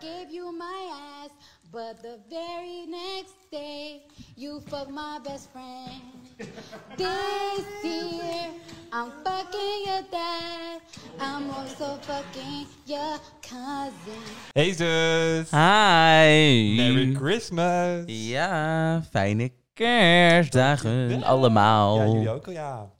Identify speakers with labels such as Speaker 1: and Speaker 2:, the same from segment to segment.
Speaker 1: gave you my ass, but the very next day, you fucked my best friend. This year, I'm fucking your dad. I'm also fucking your cousin.
Speaker 2: Hey zus!
Speaker 3: Hi.
Speaker 2: Merry Christmas!
Speaker 3: Ja, fijne kerstdagen allemaal.
Speaker 2: Ja, jullie ook al, ja.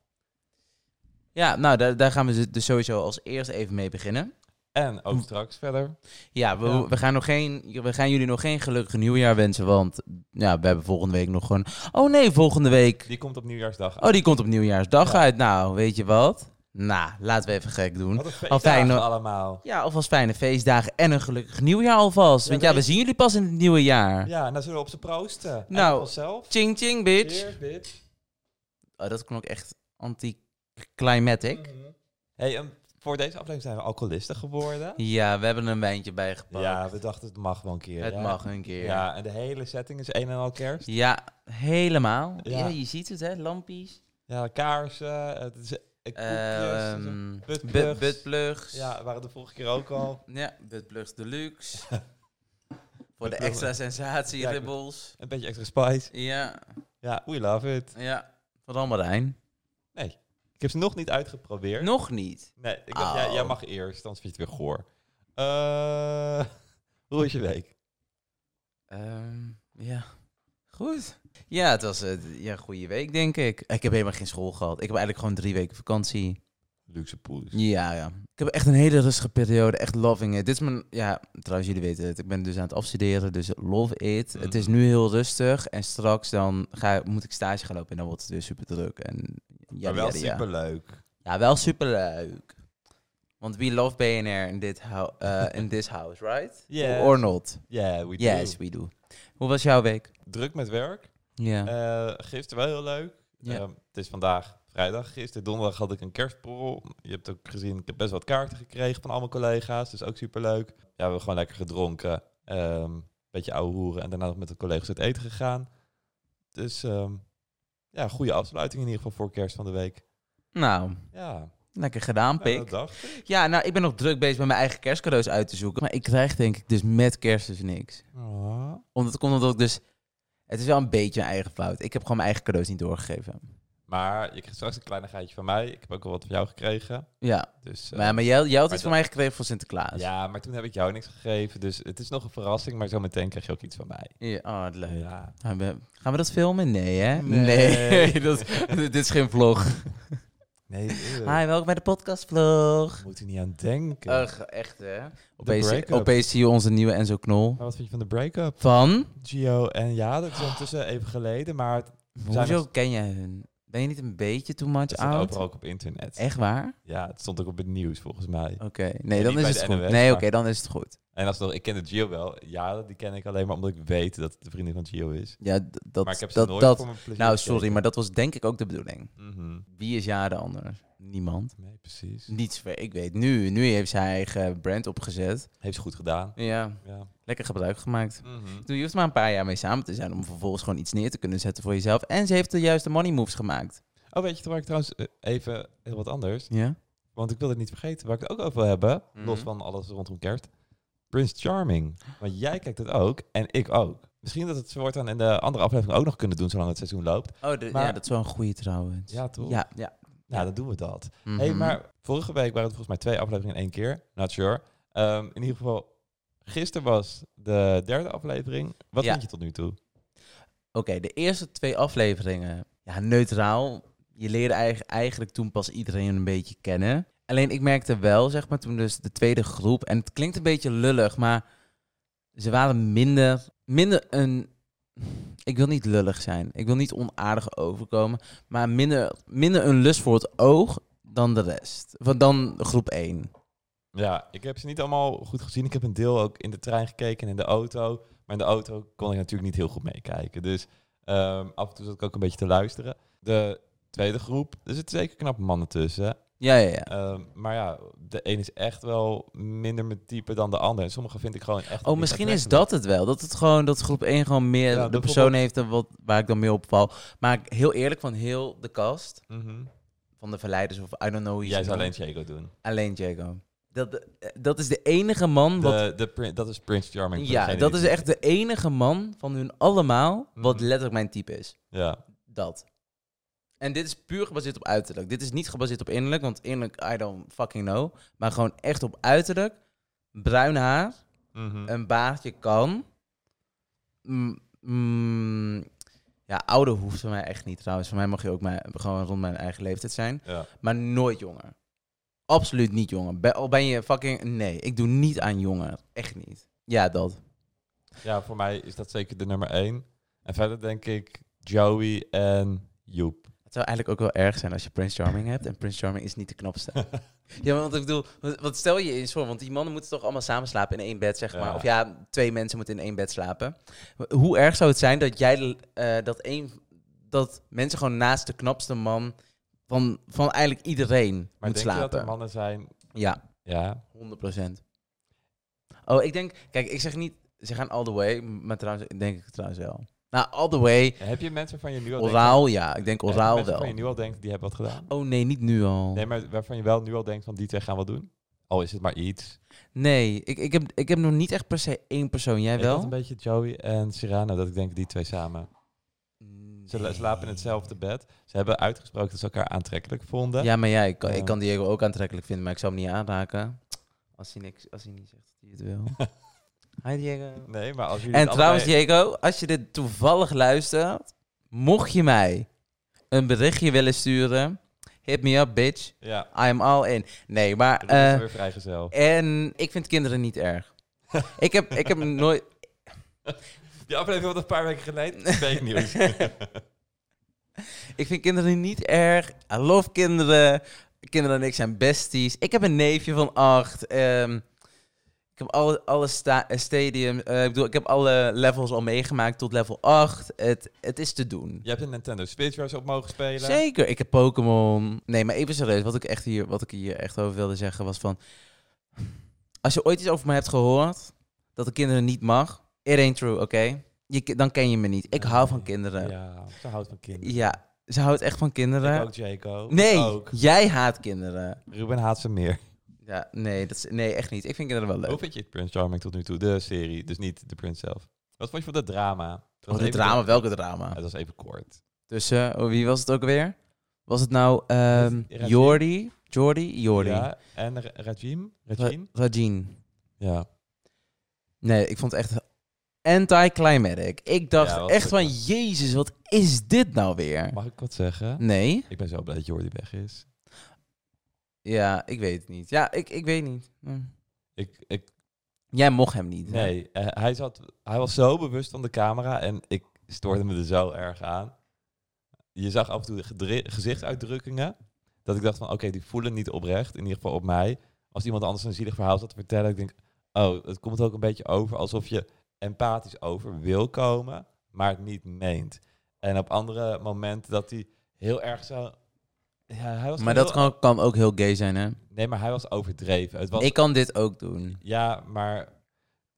Speaker 3: Ja, nou, daar, daar gaan we dus sowieso als eerst even mee beginnen.
Speaker 2: En ook straks verder.
Speaker 3: Ja, we,
Speaker 2: Ja.
Speaker 3: we, gaan, nog geen, we gaan jullie nog geen gelukkig nieuwjaar wensen, want ja, we hebben volgende week nog gewoon... Oh nee, volgende week.
Speaker 2: Die komt op nieuwjaarsdag.
Speaker 3: Oh, die komt op nieuwjaarsdag
Speaker 2: Ja.
Speaker 3: uit. Nou, weet je wat? Nou, laten we even gek doen.
Speaker 2: Wat een
Speaker 3: Al
Speaker 2: feestdagen
Speaker 3: fijne,
Speaker 2: allemaal.
Speaker 3: ja, alvast fijne feestdagen en een gelukkig nieuwjaar alvast.
Speaker 2: Ja,
Speaker 3: Want
Speaker 2: maar
Speaker 3: ja, we
Speaker 2: ik-
Speaker 3: zien jullie pas in het nieuwe jaar.
Speaker 2: Ja, en dan zullen we op ze proosten. En
Speaker 3: Nou.
Speaker 2: op onszelf.
Speaker 3: Ching ching, bitch.
Speaker 2: Cheers, bitch.
Speaker 3: Oh, dat klonk echt anticlimactic.
Speaker 2: Mhm. Hey, en voor deze aflevering zijn we alcoholisten geworden.
Speaker 3: Ja, we hebben een wijntje bijgepakt.
Speaker 2: Ja, we dachten het mag wel een keer.
Speaker 3: het
Speaker 2: ja.
Speaker 3: mag een keer. Ja,
Speaker 2: Ja, en de hele setting is een en al kerst.
Speaker 3: helemaal. Ja.
Speaker 2: Ja.
Speaker 3: je ziet het, hè? Lampjes.
Speaker 2: Ja, kaarsen, het is eh, koekjes.
Speaker 3: Ehm,
Speaker 2: Buttplugs.
Speaker 3: bu- Buttplugs.
Speaker 2: dus ja, waren de vorige keer ook al.
Speaker 3: ja buttplugs deluxe. Voor de
Speaker 2: Buttplugs.
Speaker 3: extra sensatie,
Speaker 2: Ja, ik-
Speaker 3: ribbels.
Speaker 2: Een beetje extra spice.
Speaker 3: Ja,
Speaker 2: Ja, we love it.
Speaker 3: ja. Van allemaal Rijn.
Speaker 2: Ik heb ze nog niet uitgeprobeerd.
Speaker 3: Nog niet.
Speaker 2: Nee, ik dacht, jij,
Speaker 3: Oh.
Speaker 2: jij mag eerst, anders vind je het weer goor. Eh, hoe is je week?
Speaker 3: Ehm, ja, goed. Ja, het was een ja, goede week, denk ik. Ik heb helemaal geen school gehad. Ik heb eigenlijk gewoon drie weken vakantie.
Speaker 2: Luxe poes.
Speaker 3: Ja, ja. Ik heb echt een hele rustige periode. Echt loving it. Dit is mijn... Ja, trouwens, jullie weten het. Ik ben dus aan het afstuderen. Dus love it.
Speaker 2: Mhm.
Speaker 3: Het is nu heel rustig. En straks dan ga, moet ik stage gaan lopen. En dan wordt het weer super druk. En ja,
Speaker 2: maar wel
Speaker 3: ja, ja.
Speaker 2: superleuk.
Speaker 3: Ja, wel super leuk. Want we love BNR in, dit hou- eh, in this house, right?
Speaker 2: Yes.
Speaker 3: Or not.
Speaker 2: Yeah, we
Speaker 3: Yes,
Speaker 2: do.
Speaker 3: we do. Hoe was jouw week?
Speaker 2: Druk met werk.
Speaker 3: Ja.
Speaker 2: Eh, gisteren wel heel leuk.
Speaker 3: Ja.
Speaker 2: Ehm, het is vandaag vrijdag. Gisteren donderdag had ik een kerstborrel. Je hebt ook gezien, ik heb best wat kaarten gekregen van al mijn collega's. Dus ook superleuk. Ja, we hebben gewoon lekker gedronken. Ehm beetje ouwe hoeren. En daarna nog met de collega's uit eten gegaan. Dus ehm, ja, goede afsluiting in ieder geval voor kerst van de week.
Speaker 3: Nou,
Speaker 2: Ja,
Speaker 3: lekker gedaan,
Speaker 2: nou, dat
Speaker 3: pik.
Speaker 2: dacht ik.
Speaker 3: Ja, nou, ik ben nog druk bezig met mijn eigen kerstcadeaus uit te zoeken. Maar ik krijg denk ik dus met kerst dus niks.
Speaker 2: Ah.
Speaker 3: Omdat het komt omdat ik dus... Het is wel een beetje mijn eigen fout. Ik heb gewoon mijn eigen cadeaus niet doorgegeven.
Speaker 2: Maar je krijgt straks een kleinigheidje van mij. Ik heb ook al wat van jou gekregen.
Speaker 3: Ja,
Speaker 2: Dus, eh,
Speaker 3: maar, maar jij, jij had
Speaker 2: Maar
Speaker 3: iets van mij gekregen voor Sinterklaas.
Speaker 2: ja, maar toen heb ik jou niks gegeven. Dus het is nog een verrassing, maar zometeen krijg je ook iets van mij.
Speaker 3: Ja, oh, wat leuk.
Speaker 2: Ja.
Speaker 3: Gaan we, gaan we dat filmen? Nee, hè?
Speaker 2: Nee.
Speaker 3: dat, dit is geen vlog.
Speaker 2: Nee, eh,
Speaker 3: Hi, welkom bij de podcastvlog.
Speaker 2: moet je niet aan denken.
Speaker 3: Ugh, echt, hè? Opeens,
Speaker 2: break-up.
Speaker 3: opeens zie je onze nieuwe Enzo Knol.
Speaker 2: maar wat vind je van de break-up?
Speaker 3: Van?
Speaker 2: Gio en ja, dat is ondertussen even geleden, maar het zijn
Speaker 3: Hoezo
Speaker 2: nog-
Speaker 3: ken jij hun? Ben je niet een beetje too much
Speaker 2: het staat
Speaker 3: out?
Speaker 2: overal ook op internet.
Speaker 3: Echt waar?
Speaker 2: Ja, het stond ook op het nieuws volgens mij.
Speaker 3: Oké, nee, dan
Speaker 2: niet
Speaker 3: is
Speaker 2: bij
Speaker 3: het
Speaker 2: de
Speaker 3: goed.
Speaker 2: NOS,
Speaker 3: nee, oké,
Speaker 2: maar-
Speaker 3: dan is het goed.
Speaker 2: En alsnog, ik ken de Gio wel. Ja, die ken ik alleen maar omdat ik weet dat het de vriendin van Gio is.
Speaker 3: Ja, d- dat...
Speaker 2: maar ik heb ze
Speaker 3: dat,
Speaker 2: nooit
Speaker 3: dat
Speaker 2: voor mijn plezier
Speaker 3: nou, sorry,
Speaker 2: gekeken.
Speaker 3: maar dat was denk ik ook de bedoeling.
Speaker 2: Mhm.
Speaker 3: Wie is ja de ander? Niemand.
Speaker 2: Nee, precies.
Speaker 3: Niets, ver- ik weet nu. Nu heeft zij eigen brand opgezet.
Speaker 2: Heeft ze goed gedaan.
Speaker 3: Ja,
Speaker 2: Ja.
Speaker 3: lekker gebruik gemaakt.
Speaker 2: Mhm.
Speaker 3: Je hoeft maar een paar jaar mee samen te zijn om vervolgens gewoon iets neer te kunnen zetten voor jezelf. En ze heeft de juiste money moves gemaakt.
Speaker 2: Oh, weet je waar ik trouwens eh, even heel wat anders.
Speaker 3: Ja?
Speaker 2: Want ik wil het niet vergeten. Waar ik het ook over wil hebben,
Speaker 3: Mhm.
Speaker 2: los van alles rondom kerst. Prince Charming. Want jij kijkt het ook en ik ook. Misschien dat het voortaan in de andere aflevering ook nog kunnen doen, zolang het seizoen loopt.
Speaker 3: Oh, de-
Speaker 2: Maar-
Speaker 3: ja, dat is wel een goede trouwens.
Speaker 2: Ja, toch?
Speaker 3: Ja, ja.
Speaker 2: Nou, dan doen we dat.
Speaker 3: Mhm.
Speaker 2: hey, maar vorige week waren het volgens mij twee afleveringen in één keer. Not sure. Ehm, in ieder geval, gisteren was de derde aflevering. Wat
Speaker 3: Ja.
Speaker 2: vind je tot nu toe?
Speaker 3: Oké, de eerste twee afleveringen. Ja, neutraal. Je leerde eigen- eigenlijk toen pas iedereen een beetje kennen. Alleen ik merkte wel, zeg maar, toen dus de tweede groep... En het klinkt een beetje lullig, maar ze waren minder... Minder een... Ik wil niet lullig zijn. Ik wil niet onaardig overkomen. Maar minder, minder een lust voor het oog dan de rest. Van dan groep 1.
Speaker 2: Ja, ik heb ze niet allemaal goed gezien. Ik heb een deel ook in de trein gekeken en in de auto. Maar in de auto kon ik natuurlijk niet heel goed meekijken. Dus ehm, af en toe zat ik ook een beetje te luisteren. De tweede groep, er zitten zeker knappe mannen tussen.
Speaker 3: Ja, ja, ja.
Speaker 2: Ehm, maar ja, de een is echt wel minder mijn type dan de ander. En sommige vind ik gewoon echt...
Speaker 3: Oh,
Speaker 2: niet
Speaker 3: misschien is
Speaker 2: aantrekkelijk.
Speaker 3: dat het wel. Dat het gewoon dat groep 1 gewoon meer
Speaker 2: Ja,
Speaker 3: de
Speaker 2: bijvoorbeeld-
Speaker 3: persoon heeft dan wat, waar ik dan mee opval. Maar ik- heel eerlijk, van heel de cast,
Speaker 2: Mhm.
Speaker 3: van de verleiders of I don't know. wie ze
Speaker 2: Jij zou
Speaker 3: noemen.
Speaker 2: alleen Jago doen.
Speaker 3: Alleen Jago. Dat, eh, dat is de enige man wat
Speaker 2: De, de, Prin- dat is Prince Charming. voor
Speaker 3: Ja,
Speaker 2: degene
Speaker 3: dat
Speaker 2: die-
Speaker 3: is echt de enige man van hun allemaal wat
Speaker 2: Mhm.
Speaker 3: letterlijk mijn type is.
Speaker 2: Ja,
Speaker 3: Dat. En dit is puur gebaseerd op uiterlijk. Dit is niet gebaseerd op innerlijk, want innerlijk, I don't fucking know. Maar gewoon echt op uiterlijk. Bruin haar,
Speaker 2: Mhm.
Speaker 3: een baardje kan. Mm, mm, ja, ouder hoeft voor mij echt niet trouwens. Voor mij mag je ook maar gewoon rond mijn eigen leeftijd zijn.
Speaker 2: ja.
Speaker 3: Maar nooit jonger. Absoluut niet jonger. Be- al ben je fucking... Nee, ik doe niet aan jonger. Echt niet. Ja, dat.
Speaker 2: ja, voor mij is dat zeker de nummer één. En verder denk ik Joey en Joep.
Speaker 3: Het zou eigenlijk ook wel erg zijn als je Prince Charming hebt. En Prince Charming is niet de knapste. ja, maar want ik bedoel, wat, wat stel je eens voor? Want die mannen moeten toch allemaal samen slapen in één bed, zeg maar.
Speaker 2: Ja.
Speaker 3: Of ja, twee mensen moeten in één bed slapen. Hoe erg zou het zijn dat jij eh, dat één. Dat mensen gewoon naast de knapste man van, van eigenlijk iedereen
Speaker 2: Maar
Speaker 3: moet
Speaker 2: denk je dat
Speaker 3: slapen.
Speaker 2: er mannen zijn...
Speaker 3: Ja,
Speaker 2: Ja,
Speaker 3: 100%. Oh, ik denk, kijk, ik zeg niet, ze gaan all the way, maar trouwens, denk ik trouwens wel. Nou, all the way,
Speaker 2: heb je mensen van je nu al... denkt-
Speaker 3: oraal, ja, ik denk
Speaker 2: Ja, heb je
Speaker 3: oraal
Speaker 2: mensen van
Speaker 3: wel.
Speaker 2: je nu al denkt, die hebben wat gedaan?
Speaker 3: Oh nee, niet nu al.
Speaker 2: Nee, maar waarvan je wel nu al denkt van die twee gaan wat doen? Al is het maar iets.
Speaker 3: Nee, ik, ik, heb, ik heb nog niet echt per se één persoon. Jij
Speaker 2: Ik had
Speaker 3: wel?
Speaker 2: een beetje Joey en Cyrano, dat ik denk die twee samen. Ze la-
Speaker 3: Nee.
Speaker 2: slapen in hetzelfde bed. Ze hebben uitgesproken dat ze elkaar aantrekkelijk vonden.
Speaker 3: Ja, maar ja, ik kan,
Speaker 2: Ja.
Speaker 3: ik kan Diego ook aantrekkelijk vinden, maar ik zou hem niet aanraken. Als hij, niks, als hij niet zegt dat hij het wil. Hi Diego.
Speaker 2: Nee, maar als jullie
Speaker 3: En
Speaker 2: het
Speaker 3: trouwens
Speaker 2: allebei-
Speaker 3: Diego, als je dit toevallig luistert, mocht je mij een berichtje willen sturen, hit me up bitch,
Speaker 2: Ja,
Speaker 3: I am all in. Nee, maar...
Speaker 2: dan is
Speaker 3: eh,
Speaker 2: ze weer vrijgezel.
Speaker 3: en ik vind kinderen niet erg. ik, heb, ik heb nooit...
Speaker 2: Die aflevering was een paar weken geleden. Fake nieuws.
Speaker 3: Ik vind kinderen niet erg. I love kinderen. Kinderen en ik zijn besties. Ik heb een neefje van acht. Ehm, ik heb alle, alle sta- eh, stadium. eh, ik bedoel, ik heb alle levels al meegemaakt tot level 8. Het, het is te doen.
Speaker 2: Je hebt een Nintendo Switch waar ze op mogen spelen.
Speaker 3: Zeker. Ik heb Pokémon. Nee, maar even serieus. Wat ik, echt hier, wat ik hier echt over wilde zeggen was van... Als je ooit iets over me hebt gehoord... dat de kinderen niet mag... It ain't true, oké? Je ki- Dan ken je me niet. Ik hou van kinderen. Ja,
Speaker 2: Ja, ze houdt van kinderen.
Speaker 3: ze houdt echt van kinderen.
Speaker 2: Ik ook, Jaco.
Speaker 3: Nee,
Speaker 2: Ik Ook.
Speaker 3: jij haat kinderen.
Speaker 2: Ruben haat ze meer.
Speaker 3: Ja, nee, dat is, nee, echt niet. Ik vind kinderen wel leuk.
Speaker 2: Hoe vind je het Prince Charming tot nu toe? De serie, dus niet de prins zelf. Wat vond je van dat drama? Dat was
Speaker 3: Oh, de
Speaker 2: even-
Speaker 3: drama, welke
Speaker 2: Ja,
Speaker 3: drama?
Speaker 2: dat was even kort.
Speaker 3: Tussen, oh, wie was het ook weer? Was het nou ehm
Speaker 2: Rajin.
Speaker 3: Jordi? Jordi? Jordi.
Speaker 2: Ja, en Ra- Rajim?
Speaker 3: Ra-
Speaker 2: Rajim?
Speaker 3: Rajin.
Speaker 2: Ja.
Speaker 3: Nee, ik vond het echt anticlimactic. Ik dacht
Speaker 2: Ja, was
Speaker 3: echt
Speaker 2: ook
Speaker 3: van,
Speaker 2: wel.
Speaker 3: jezus, wat is dit nou weer?
Speaker 2: Mag ik wat zeggen?
Speaker 3: Nee?
Speaker 2: Ik ben zo blij dat Jordi weg is.
Speaker 3: Ja, ik weet het niet. Ja, ik, ik weet niet. Hm.
Speaker 2: Ik, ik,
Speaker 3: Jij mocht hem niet. hè?
Speaker 2: nee, eh, hij, zat, hij was zo bewust van de camera en ik stoorde me er zo erg aan. Je zag af en toe de gedri- gezichtsuitdrukkingen. Dat ik dacht van, oké, die voelen niet oprecht. In ieder geval op mij. Als iemand anders een zielig verhaal zat te vertellen. Ik denk, oh, het komt ook een beetje over alsof je empathisch over wil komen. Maar het niet meent. En op andere momenten dat hij heel erg zo... Ja, hij was
Speaker 3: Maar
Speaker 2: heel-
Speaker 3: dat kan, kan ook heel gay zijn, hè?
Speaker 2: Nee, maar hij was overdreven. Het was
Speaker 3: Ik kan dit ook doen.
Speaker 2: Ja, maar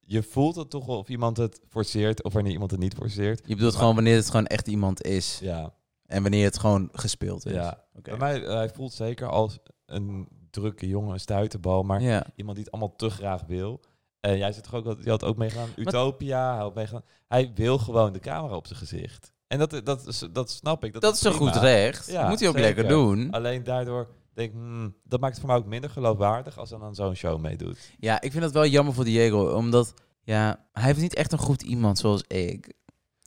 Speaker 2: je voelt het toch wel of iemand het forceert of wanneer iemand het niet forceert.
Speaker 3: Je bedoelt
Speaker 2: Maar-
Speaker 3: gewoon wanneer het gewoon echt iemand is.
Speaker 2: Ja,
Speaker 3: En wanneer het gewoon gespeeld is.
Speaker 2: ja.
Speaker 3: Oké.
Speaker 2: Bij mij, eh, hij voelt zeker als een drukke jongen, een stuiterbal, maar
Speaker 3: ja.
Speaker 2: iemand die het allemaal te graag wil. En jij zit toch ook, wel- je had ook meegedaan, Utopia, hij had meegedaan. Hij wil gewoon de camera op zijn gezicht. En dat, dat, is- dat snap ik. Dat,
Speaker 3: Dat is een
Speaker 2: prima.
Speaker 3: goed recht.
Speaker 2: Ja,
Speaker 3: Dat moet hij ook
Speaker 2: zeker.
Speaker 3: lekker doen.
Speaker 2: Alleen daardoor denk ik, hmm, dat maakt het voor mij ook minder geloofwaardig als hij dan zo'n show meedoet.
Speaker 3: Ja, ik vind dat wel jammer voor Diego. Omdat, ja, hij heeft niet echt een goed iemand zoals ik.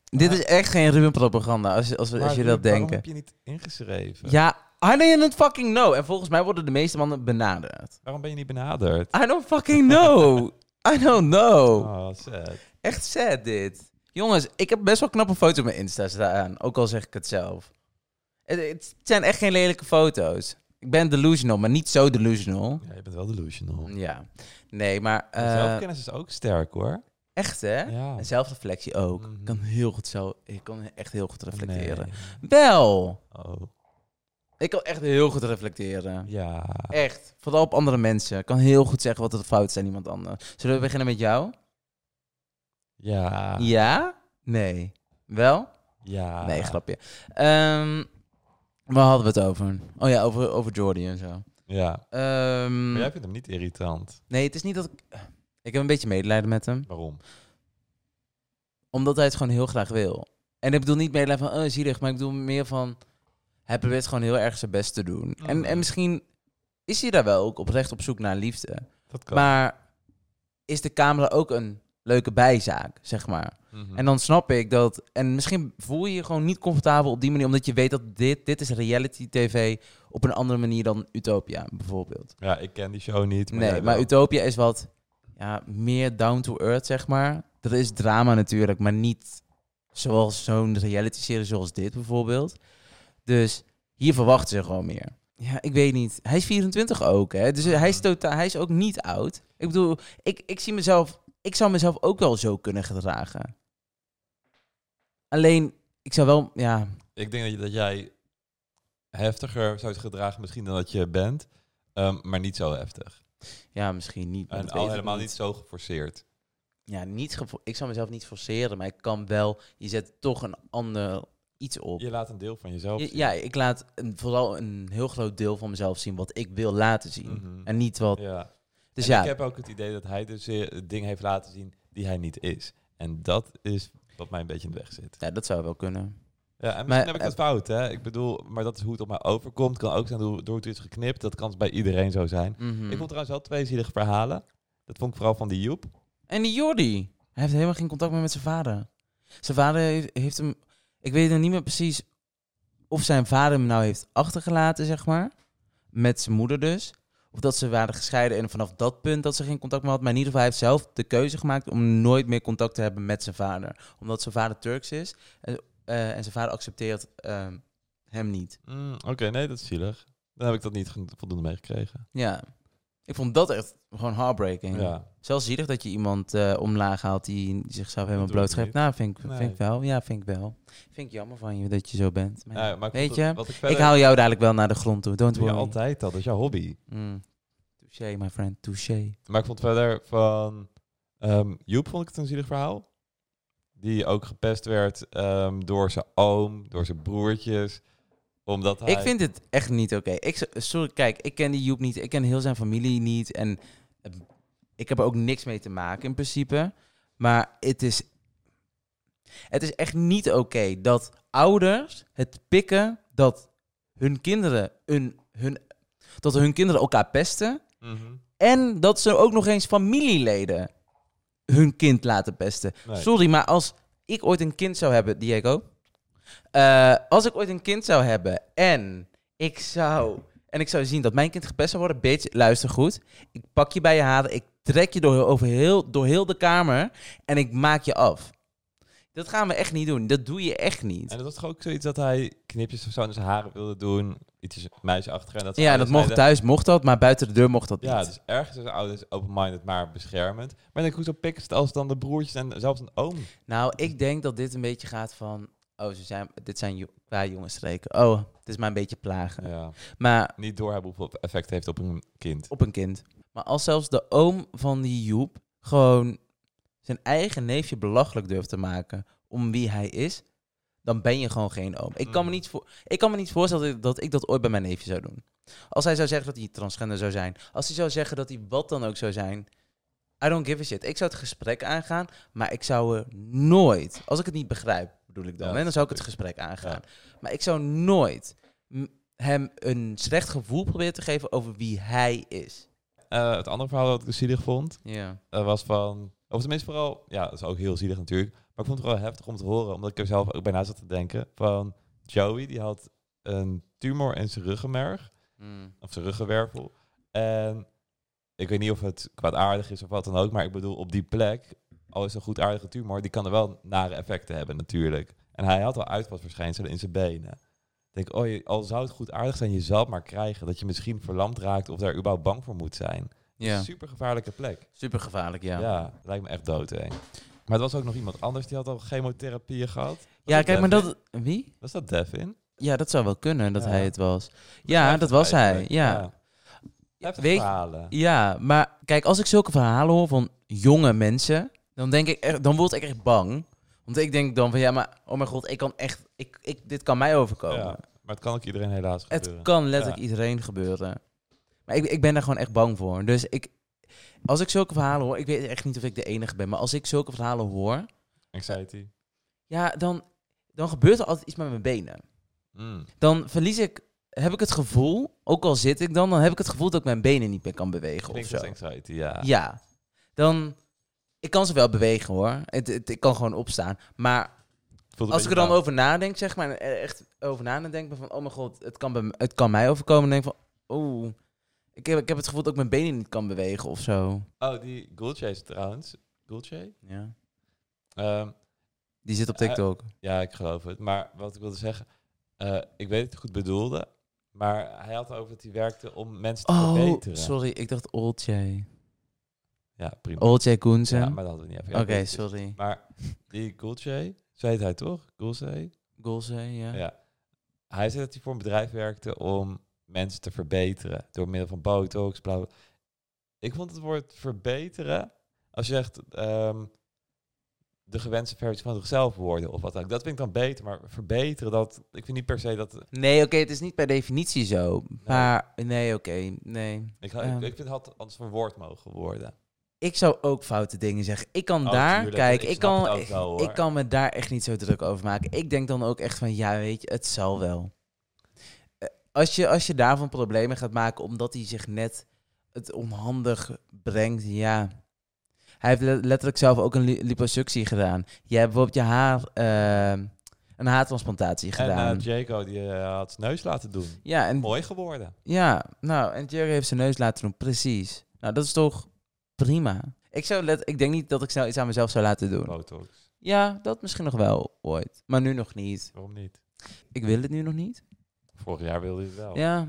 Speaker 3: Dit
Speaker 2: Maar-
Speaker 3: is echt geen Ruben-propaganda, als, je- als, we- als
Speaker 2: Maar
Speaker 3: je dat
Speaker 2: waarom
Speaker 3: denkt.
Speaker 2: heb je niet ingeschreven?
Speaker 3: Ja, I don't fucking know. En volgens mij worden de meeste mannen benaderd.
Speaker 2: Waarom ben je niet benaderd?
Speaker 3: I don't fucking know. I don't know.
Speaker 2: Oh, sad.
Speaker 3: Echt sad dit. Jongens, ik heb best wel knappe foto's op mijn Insta staan. Ook al zeg ik het zelf. Het, het zijn echt geen lelijke foto's. Ik ben delusional, maar niet zo delusional.
Speaker 2: Ja, je bent wel delusional.
Speaker 3: Ja. Nee, maar... Mm, eh,
Speaker 2: Zelfkennis is ook sterk hoor.
Speaker 3: echt, hè?
Speaker 2: Ja.
Speaker 3: En zelfreflectie ook.
Speaker 2: Mhm.
Speaker 3: Ik kan heel goed zo... Ik kan echt heel goed reflecteren.
Speaker 2: Nee.
Speaker 3: Wel!
Speaker 2: Oh.
Speaker 3: Ik kan echt heel goed reflecteren.
Speaker 2: Ja.
Speaker 3: Echt. Vooral op andere mensen. Ik kan heel goed zeggen wat er fout is aan iemand anders. Zullen we beginnen met jou?
Speaker 2: Ja.
Speaker 3: Ja? Nee. Wel?
Speaker 2: Ah, Ja.
Speaker 3: Nee, grapje. Ehm, waar hadden we het over? Oh ja, over, over Jordi en zo.
Speaker 2: Ja.
Speaker 3: Ehm,
Speaker 2: Maar jij vindt hem niet irritant.
Speaker 3: Nee, het is niet dat ik... Ik heb een beetje medelijden met hem.
Speaker 2: Waarom?
Speaker 3: Omdat hij het gewoon heel graag wil. En ik bedoel niet medelijden van, oh, zielig. Maar ik bedoel meer van, hij probeert gewoon heel erg zijn best te doen.
Speaker 2: Oh,
Speaker 3: En, en misschien is hij daar wel ook oprecht op zoek naar liefde.
Speaker 2: Dat kan.
Speaker 3: Maar is de camera ook een leuke bijzaak, zeg maar?
Speaker 2: Mhm.
Speaker 3: En dan snap ik dat. En misschien voel je je gewoon niet comfortabel op die manier, omdat je weet dat dit, dit is reality TV op een andere manier dan Utopia, bijvoorbeeld.
Speaker 2: Ja, ik ken die show niet. Maar
Speaker 3: nee,
Speaker 2: jij
Speaker 3: maar
Speaker 2: wel.
Speaker 3: Utopia is wat ja, meer down to earth, zeg maar. Dat is drama natuurlijk, maar niet zoals zo'n reality serie zoals dit bijvoorbeeld. Dus hier verwachten ze gewoon meer. Ja, ik weet niet. Hij is 24 ook, hè. Dus hij is, totaal, hij is ook niet oud. Ik bedoel, ik, ik zie mezelf... Ik zou mezelf ook wel zo kunnen gedragen. Alleen, ik zou wel... Ja,
Speaker 2: Ik denk dat, je- dat jij heftiger zou gedragen misschien dan dat je bent. ehm, maar niet zo heftig.
Speaker 3: ja misschien niet. maar
Speaker 2: En
Speaker 3: dat weet
Speaker 2: al
Speaker 3: ik
Speaker 2: helemaal niet zo geforceerd.
Speaker 3: Ja, niet gevo- ik zou mezelf niet forceren, maar ik kan wel... Je zet toch een ander iets op.
Speaker 2: Je laat een deel van jezelf
Speaker 3: Ja,
Speaker 2: zien.
Speaker 3: ja, ik laat een, vooral een heel groot deel van mezelf zien wat ik wil laten zien.
Speaker 2: Mhm.
Speaker 3: En niet wat...
Speaker 2: Ja.
Speaker 3: Dus
Speaker 2: En
Speaker 3: ja,
Speaker 2: Ik heb ook het idee dat hij dus weer het ding heeft laten zien die hij niet is. En dat is wat mij een beetje in de weg zit.
Speaker 3: ja, dat zou wel kunnen.
Speaker 2: Ja, en misschien
Speaker 3: Maar,
Speaker 2: heb ik
Speaker 3: eh,
Speaker 2: het fout, hè. Ik bedoel, maar dat is hoe het op mij overkomt. Kan ook zijn door, door hoe het is geknipt. Dat kan bij iedereen zo zijn.
Speaker 3: Mhm.
Speaker 2: Ik vond trouwens wel twee zielige verhalen. Dat vond ik vooral van die Joep.
Speaker 3: En die Jordi. Hij heeft helemaal geen contact meer met zijn vader. Zijn vader heeft, heeft hem... Ik weet nog niet meer precies of zijn vader hem nou heeft achtergelaten, zeg maar. Met zijn moeder dus. Of dat ze waren gescheiden en vanaf dat punt dat ze geen contact meer had. Maar in ieder geval, hij heeft zelf de keuze gemaakt om nooit meer contact te hebben met zijn vader. Omdat zijn vader Turks is en, eh, en zijn vader accepteert ehm, hem niet.
Speaker 2: Mm, Oké, nee, dat is zielig. Dan heb ik dat niet geno- voldoende meegekregen.
Speaker 3: Ja. Ik vond dat echt gewoon heartbreaking.
Speaker 2: Ja.
Speaker 3: Zelfs zielig dat je iemand eh, omlaag haalt die zichzelf helemaal
Speaker 2: Dat doe ik
Speaker 3: blootgeeft.
Speaker 2: niet.
Speaker 3: Nou, vind ik,
Speaker 2: Nee.
Speaker 3: vind ik wel. Ja, vind ik wel. Vind ik jammer van je dat je zo bent. Maar ja,
Speaker 2: Ja, Nou, maar ik
Speaker 3: Weet
Speaker 2: vond het-
Speaker 3: je,
Speaker 2: wat ik,
Speaker 3: ik
Speaker 2: verder-
Speaker 3: haal jou dadelijk wel naar de grond toe. Don't
Speaker 2: doe je
Speaker 3: worry.
Speaker 2: altijd dat. Dat is jouw hobby.
Speaker 3: Mm. Touché, my friend. Touché.
Speaker 2: Maar ik vond verder van ehm, Joep vond ik het een zielig verhaal. Die ook gepest werd ehm, door zijn oom, door zijn broertjes. Omdat hij...
Speaker 3: Ik vind dit echt niet oké. Ik z- Sorry, kijk, ik ken die Joep niet. Ik ken heel zijn familie niet. En eh, ik heb er ook niks mee te maken in principe. Maar het is, het is echt niet oké dat ouders het pikken dat hun kinderen hun, hun, dat hun kinderen elkaar pesten.
Speaker 2: Mhm.
Speaker 3: En dat ze ook nog eens familieleden hun kind laten pesten.
Speaker 2: Nee.
Speaker 3: Sorry, maar als ik ooit een kind zou hebben, Diego. eh, als ik ooit een kind zou hebben en ik zou. En ik zou zien dat mijn kind gepest zou worden. Bitch, luister goed. Ik pak je bij je haren. Ik trek je door, over heel, door heel de kamer. En ik maak je af. Dat gaan we echt niet doen. Dat doe je echt niet.
Speaker 2: En dat was toch ook zoiets dat hij knipjes of zo in zijn haren wilde doen. Iets meisjeachtig. En dat zijn
Speaker 3: Ja, dat
Speaker 2: ouders
Speaker 3: mocht
Speaker 2: zeiden-
Speaker 3: thuis, mocht dat. Maar buiten de deur mocht dat niet.
Speaker 2: Ja, dus ergens zijn ouders open-minded, maar beschermend. Maar ik denk, hoezo pikken ze het als dan de broertjes en zelfs een oom?
Speaker 3: Nou, ik denk dat dit een beetje gaat van... Oh, ze zijn, dit zijn jo- qua jongensstreken. Oh, het is maar een beetje plagen.
Speaker 2: Ja.
Speaker 3: Maar
Speaker 2: Niet doorhebben hoeveel effect het heeft op een kind.
Speaker 3: op een kind. Maar als zelfs de oom van die Joep gewoon zijn eigen neefje belachelijk durft te maken om wie hij is, dan ben je gewoon geen oom. Ik kan me
Speaker 2: Mm.
Speaker 3: niet, voor, ik kan me niet voorstellen dat- dat ik dat ooit bij mijn neefje zou doen. Als hij zou zeggen dat hij transgender zou zijn, als hij zou zeggen dat hij wat dan ook zou zijn, I don't give a shit. Ik zou het gesprek aangaan, maar ik zou er nooit, als ik het niet begrijp, bedoel ik dan,
Speaker 2: Ja,
Speaker 3: hè, dan zou ik het gesprek aangaan.
Speaker 2: Ja.
Speaker 3: Maar ik zou nooit m- hem een slecht gevoel proberen te geven over wie hij is.
Speaker 2: Eh, het andere verhaal dat ik zielig vond,
Speaker 3: Ja.
Speaker 2: eh, was van... Of tenminste vooral... Ja, dat is ook heel zielig natuurlijk. Maar ik vond het wel heftig om te horen, omdat ik er zelf ook bijna zat te denken. Van Joey, die had een tumor in zijn ruggenmerg.
Speaker 3: Mm.
Speaker 2: of zijn ruggenwervel. En ik weet niet of het kwaadaardig is of wat dan ook, maar ik bedoel, op die plek, al is het een goedaardige tumor, die kan er wel nare effecten hebben natuurlijk. En hij had al uitvalsverschijnselen in zijn benen. Ik denk, oh, je- al zou het goedaardig zijn, je zal het maar krijgen dat je misschien verlamd raakt of daar überhaupt bang voor moet zijn.
Speaker 3: Ja.
Speaker 2: Super gevaarlijke plek.
Speaker 3: Super gevaarlijk,
Speaker 2: Ja,
Speaker 3: ja. Ja,
Speaker 2: lijkt me echt doodeng. Maar er was ook nog iemand anders die had al chemotherapieën gehad. Was
Speaker 3: kijk, maar
Speaker 2: Devin?
Speaker 3: dat... Wie?
Speaker 2: Was dat Devin?
Speaker 3: Ja, dat zou wel kunnen dat
Speaker 2: Ja.
Speaker 3: hij het was. Ja, dat was hij. Ja.
Speaker 2: Heftige
Speaker 3: Weet-
Speaker 2: verhalen.
Speaker 3: Ja, maar kijk, als ik zulke verhalen hoor van jonge mensen, dan denk ik echt, dan word ik echt bang. Want ik denk dan van ja, maar oh mijn god, ik kan echt, ik, ik, dit kan mij overkomen.
Speaker 2: Ja, maar het kan ook iedereen helaas
Speaker 3: het
Speaker 2: gebeuren.
Speaker 3: kan letterlijk
Speaker 2: Ja.
Speaker 3: iedereen gebeuren. Maar ik, ik ben daar gewoon echt bang voor. Dus ik, als ik zulke verhalen hoor, ik weet echt niet of ik de enige ben, maar als ik zulke verhalen hoor,
Speaker 2: Anxiety.
Speaker 3: ja, dan, dan gebeurt er altijd iets met mijn benen.
Speaker 2: Mm.
Speaker 3: Dan verlies ik, heb ik het gevoel, ook al zit ik dan, dan heb ik het gevoel dat ik mijn benen niet meer kan bewegen of
Speaker 2: Klinkt
Speaker 3: zo.
Speaker 2: als anxiety, ja.
Speaker 3: Ja, dan, ik kan ze wel bewegen hoor. Het, het, ik kan gewoon opstaan. Maar
Speaker 2: Voelt een
Speaker 3: Als ik er
Speaker 2: beetje
Speaker 3: dan over nadenk, zeg maar, en er echt over na en denk ben van, oh mijn god, het kan, bij m- het kan mij overkomen. Dan denk ik van, oh, ik heb, ik heb het gevoel dat ik mijn benen niet kan bewegen of zo.
Speaker 2: fout. Oh, die Gulchase trouwens. Gulchase?
Speaker 3: Ja.
Speaker 2: Ehm,
Speaker 3: Die zit op
Speaker 2: Eh,
Speaker 3: TikTok.
Speaker 2: ja, ik geloof het. Maar wat ik wilde zeggen, eh, ik weet dat hij goed bedoelde, maar hij had over dat hij werkte om mensen te
Speaker 3: oh,
Speaker 2: verbeteren.
Speaker 3: sorry, ik dacht Olcay.
Speaker 2: Ja, prima.
Speaker 3: Olcay Koensen.
Speaker 2: ja, maar dat hadden we niet even.
Speaker 3: Oké,
Speaker 2: Ja, goed.
Speaker 3: sorry.
Speaker 2: Maar die Gulchase, zo heet hij toch? Gulchase?
Speaker 3: Golzee, ja.
Speaker 2: Ja. Hij zei dat hij voor een bedrijf werkte om mensen te verbeteren. Door middel van botox, blauw. Ik vond het woord verbeteren, als je zegt ehm, de gewenste versie van zichzelf worden of wat dan ook. Dat vind ik dan beter, maar verbeteren, dat, ik vind niet per se dat...
Speaker 3: Nee, oké, het is niet per definitie zo. Maar, ehm, nee, oké, nee.
Speaker 2: Ik,
Speaker 3: Ja.
Speaker 2: ik, ik vind het had anders verwoord mogen worden.
Speaker 3: Ik zou ook foute dingen zeggen. Ik kan
Speaker 2: Oh,
Speaker 3: daar,
Speaker 2: tuurlijk,
Speaker 3: kijk,
Speaker 2: ik
Speaker 3: ik,
Speaker 2: snap het
Speaker 3: kan,
Speaker 2: ook wel, hoor.
Speaker 3: ik kan me daar echt niet zo druk over maken. Ik denk dan ook echt van, ja, weet je, het zal wel. Eh, Als je, als je daarvan problemen gaat maken omdat hij zich net het onhandig brengt, ja. Hij heeft le- letterlijk zelf ook een li- liposuctie gedaan. Jij hebt bijvoorbeeld je haar, eh, een haartransplantatie
Speaker 2: En
Speaker 3: gedaan. Mm.
Speaker 2: eh, Jaco, die eh, had zijn neus laten doen.
Speaker 3: ja, en
Speaker 2: Mooi geworden.
Speaker 3: ja, nou, en Jerry heeft zijn neus laten doen, precies. Nou, dat is toch prima. Ik, zou let, ik denk niet dat ik snel iets aan mezelf zou laten doen.
Speaker 2: Botox.
Speaker 3: Ja, dat misschien nog wel ooit. Maar nu nog niet.
Speaker 2: Waarom niet?
Speaker 3: Ik wil het nu nog niet.
Speaker 2: Vorig jaar wilde hij het wel.
Speaker 3: Ja,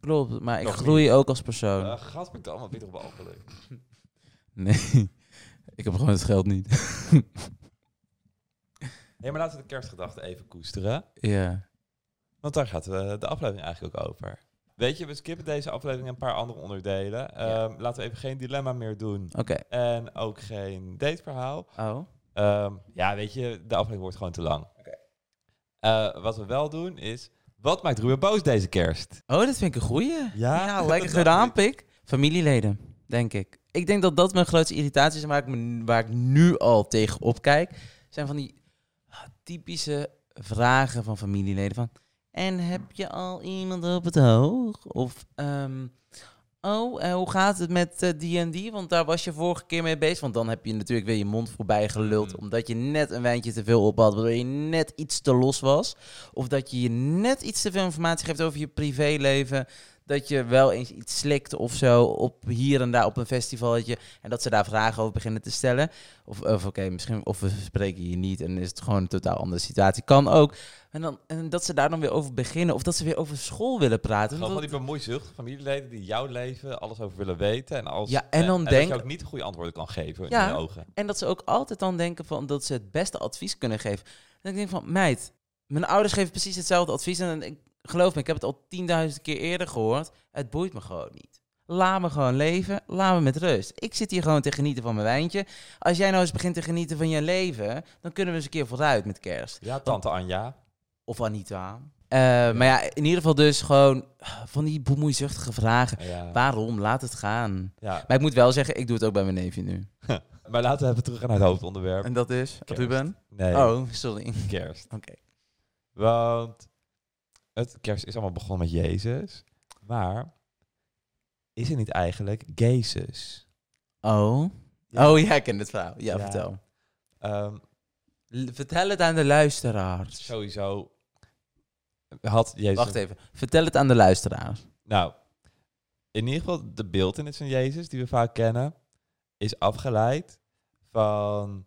Speaker 3: klopt. Maar ik
Speaker 2: Nog
Speaker 3: groei ook als persoon.
Speaker 2: Eh, Gast, ben ik allemaal weer op belachelijk.
Speaker 3: Nee, ik heb gewoon het geld niet.
Speaker 2: Nee, maar laten we de kerstgedachte even koesteren.
Speaker 3: Ja.
Speaker 2: Want daar gaat eh, de aflevering eigenlijk ook over. Weet je, we skippen deze aflevering en een paar andere onderdelen. Ehm, Laten we even geen dilemma meer doen.
Speaker 3: Oké.
Speaker 2: En ook geen dateverhaal.
Speaker 3: Oh.
Speaker 2: Ehm, ja, weet je, de aflevering wordt gewoon te lang. Eh, wat we wel doen is... Wat maakt Ruben boos deze kerst?
Speaker 3: Oh, dat vind ik een goeie.
Speaker 2: Ja,
Speaker 3: ja
Speaker 2: dat
Speaker 3: lekker
Speaker 2: dacht
Speaker 3: gedaan,
Speaker 2: ik.
Speaker 3: pik. Familieleden, denk ik. Ik denk dat dat mijn grootste irritatie is waar ik, me, waar ik nu al tegen opkijk. Zijn van die ah, typische vragen van familieleden. Van, en heb je al iemand op het oog? Of, ehm, oh, eh, hoe gaat het met eh, die en die? Want daar was je vorige keer mee bezig. Want dan heb je natuurlijk weer je mond voorbij geluld.
Speaker 2: Mm.
Speaker 3: Omdat je net een wijntje te veel op had. Waardoor je net iets te los was. Of dat je je net iets te veel informatie geeft over je privéleven. Dat je wel eens iets slikt of zo. Op hier en daar op een festivaletje. En dat ze daar vragen over beginnen te stellen. Of, of oké, misschien. Of we spreken hier niet. En is het gewoon een totaal andere situatie. Kan ook. En, dan, en dat ze daar dan weer over beginnen. Of dat ze weer over school willen praten.
Speaker 2: Gewoon van
Speaker 3: Dat-
Speaker 2: die bemoeizucht. Familieleden die jouw leven alles over willen weten. En, als,
Speaker 3: Ja, en dan
Speaker 2: dat
Speaker 3: denk-
Speaker 2: je ook niet goede antwoorden kan geven
Speaker 3: Ja.
Speaker 2: in hun ogen.
Speaker 3: En dat ze ook altijd dan denken van dat ze het beste advies kunnen geven. En ik denk van, meid, mijn ouders geven precies hetzelfde advies. En ik geloof me, ik heb het al tienduizend keer eerder gehoord. Het boeit me gewoon niet. Laat me gewoon leven. Laat me met rust. Ik zit hier gewoon te genieten van mijn wijntje. Als jij nou eens begint te genieten van je leven, dan kunnen we eens een keer vooruit met kerst.
Speaker 2: Ja, tante Anja.
Speaker 3: Of Anita. Eh, Maar ja, in ieder geval dus gewoon ah, van die bemoeizuchtige vragen.
Speaker 2: Ja.
Speaker 3: Waarom? Laat het gaan.
Speaker 2: ja.
Speaker 3: Maar ik moet wel zeggen, ik doe het ook bij mijn neefje nu.
Speaker 2: Maar laten we even terug gaan naar het hoofdonderwerp.
Speaker 3: En dat is?
Speaker 2: Kerst.
Speaker 3: Ruben?
Speaker 2: Nee,
Speaker 3: Oh, sorry.
Speaker 2: kerst.
Speaker 3: Oké.
Speaker 2: Want het kerst is allemaal begonnen met Jezus. Maar is er niet eigenlijk Jezus?
Speaker 3: Oh.
Speaker 2: Ja.
Speaker 3: Oh, jij kent het verhaal. Ja,
Speaker 2: Ja.
Speaker 3: vertel.
Speaker 2: Ehm,
Speaker 3: L- vertel het aan de luisteraars.
Speaker 2: sowieso had Jezus...
Speaker 3: Wacht even. Vertel het aan de luisteraars.
Speaker 2: Nou, in ieder geval de beeldenis van Jezus, die we vaak kennen, is afgeleid van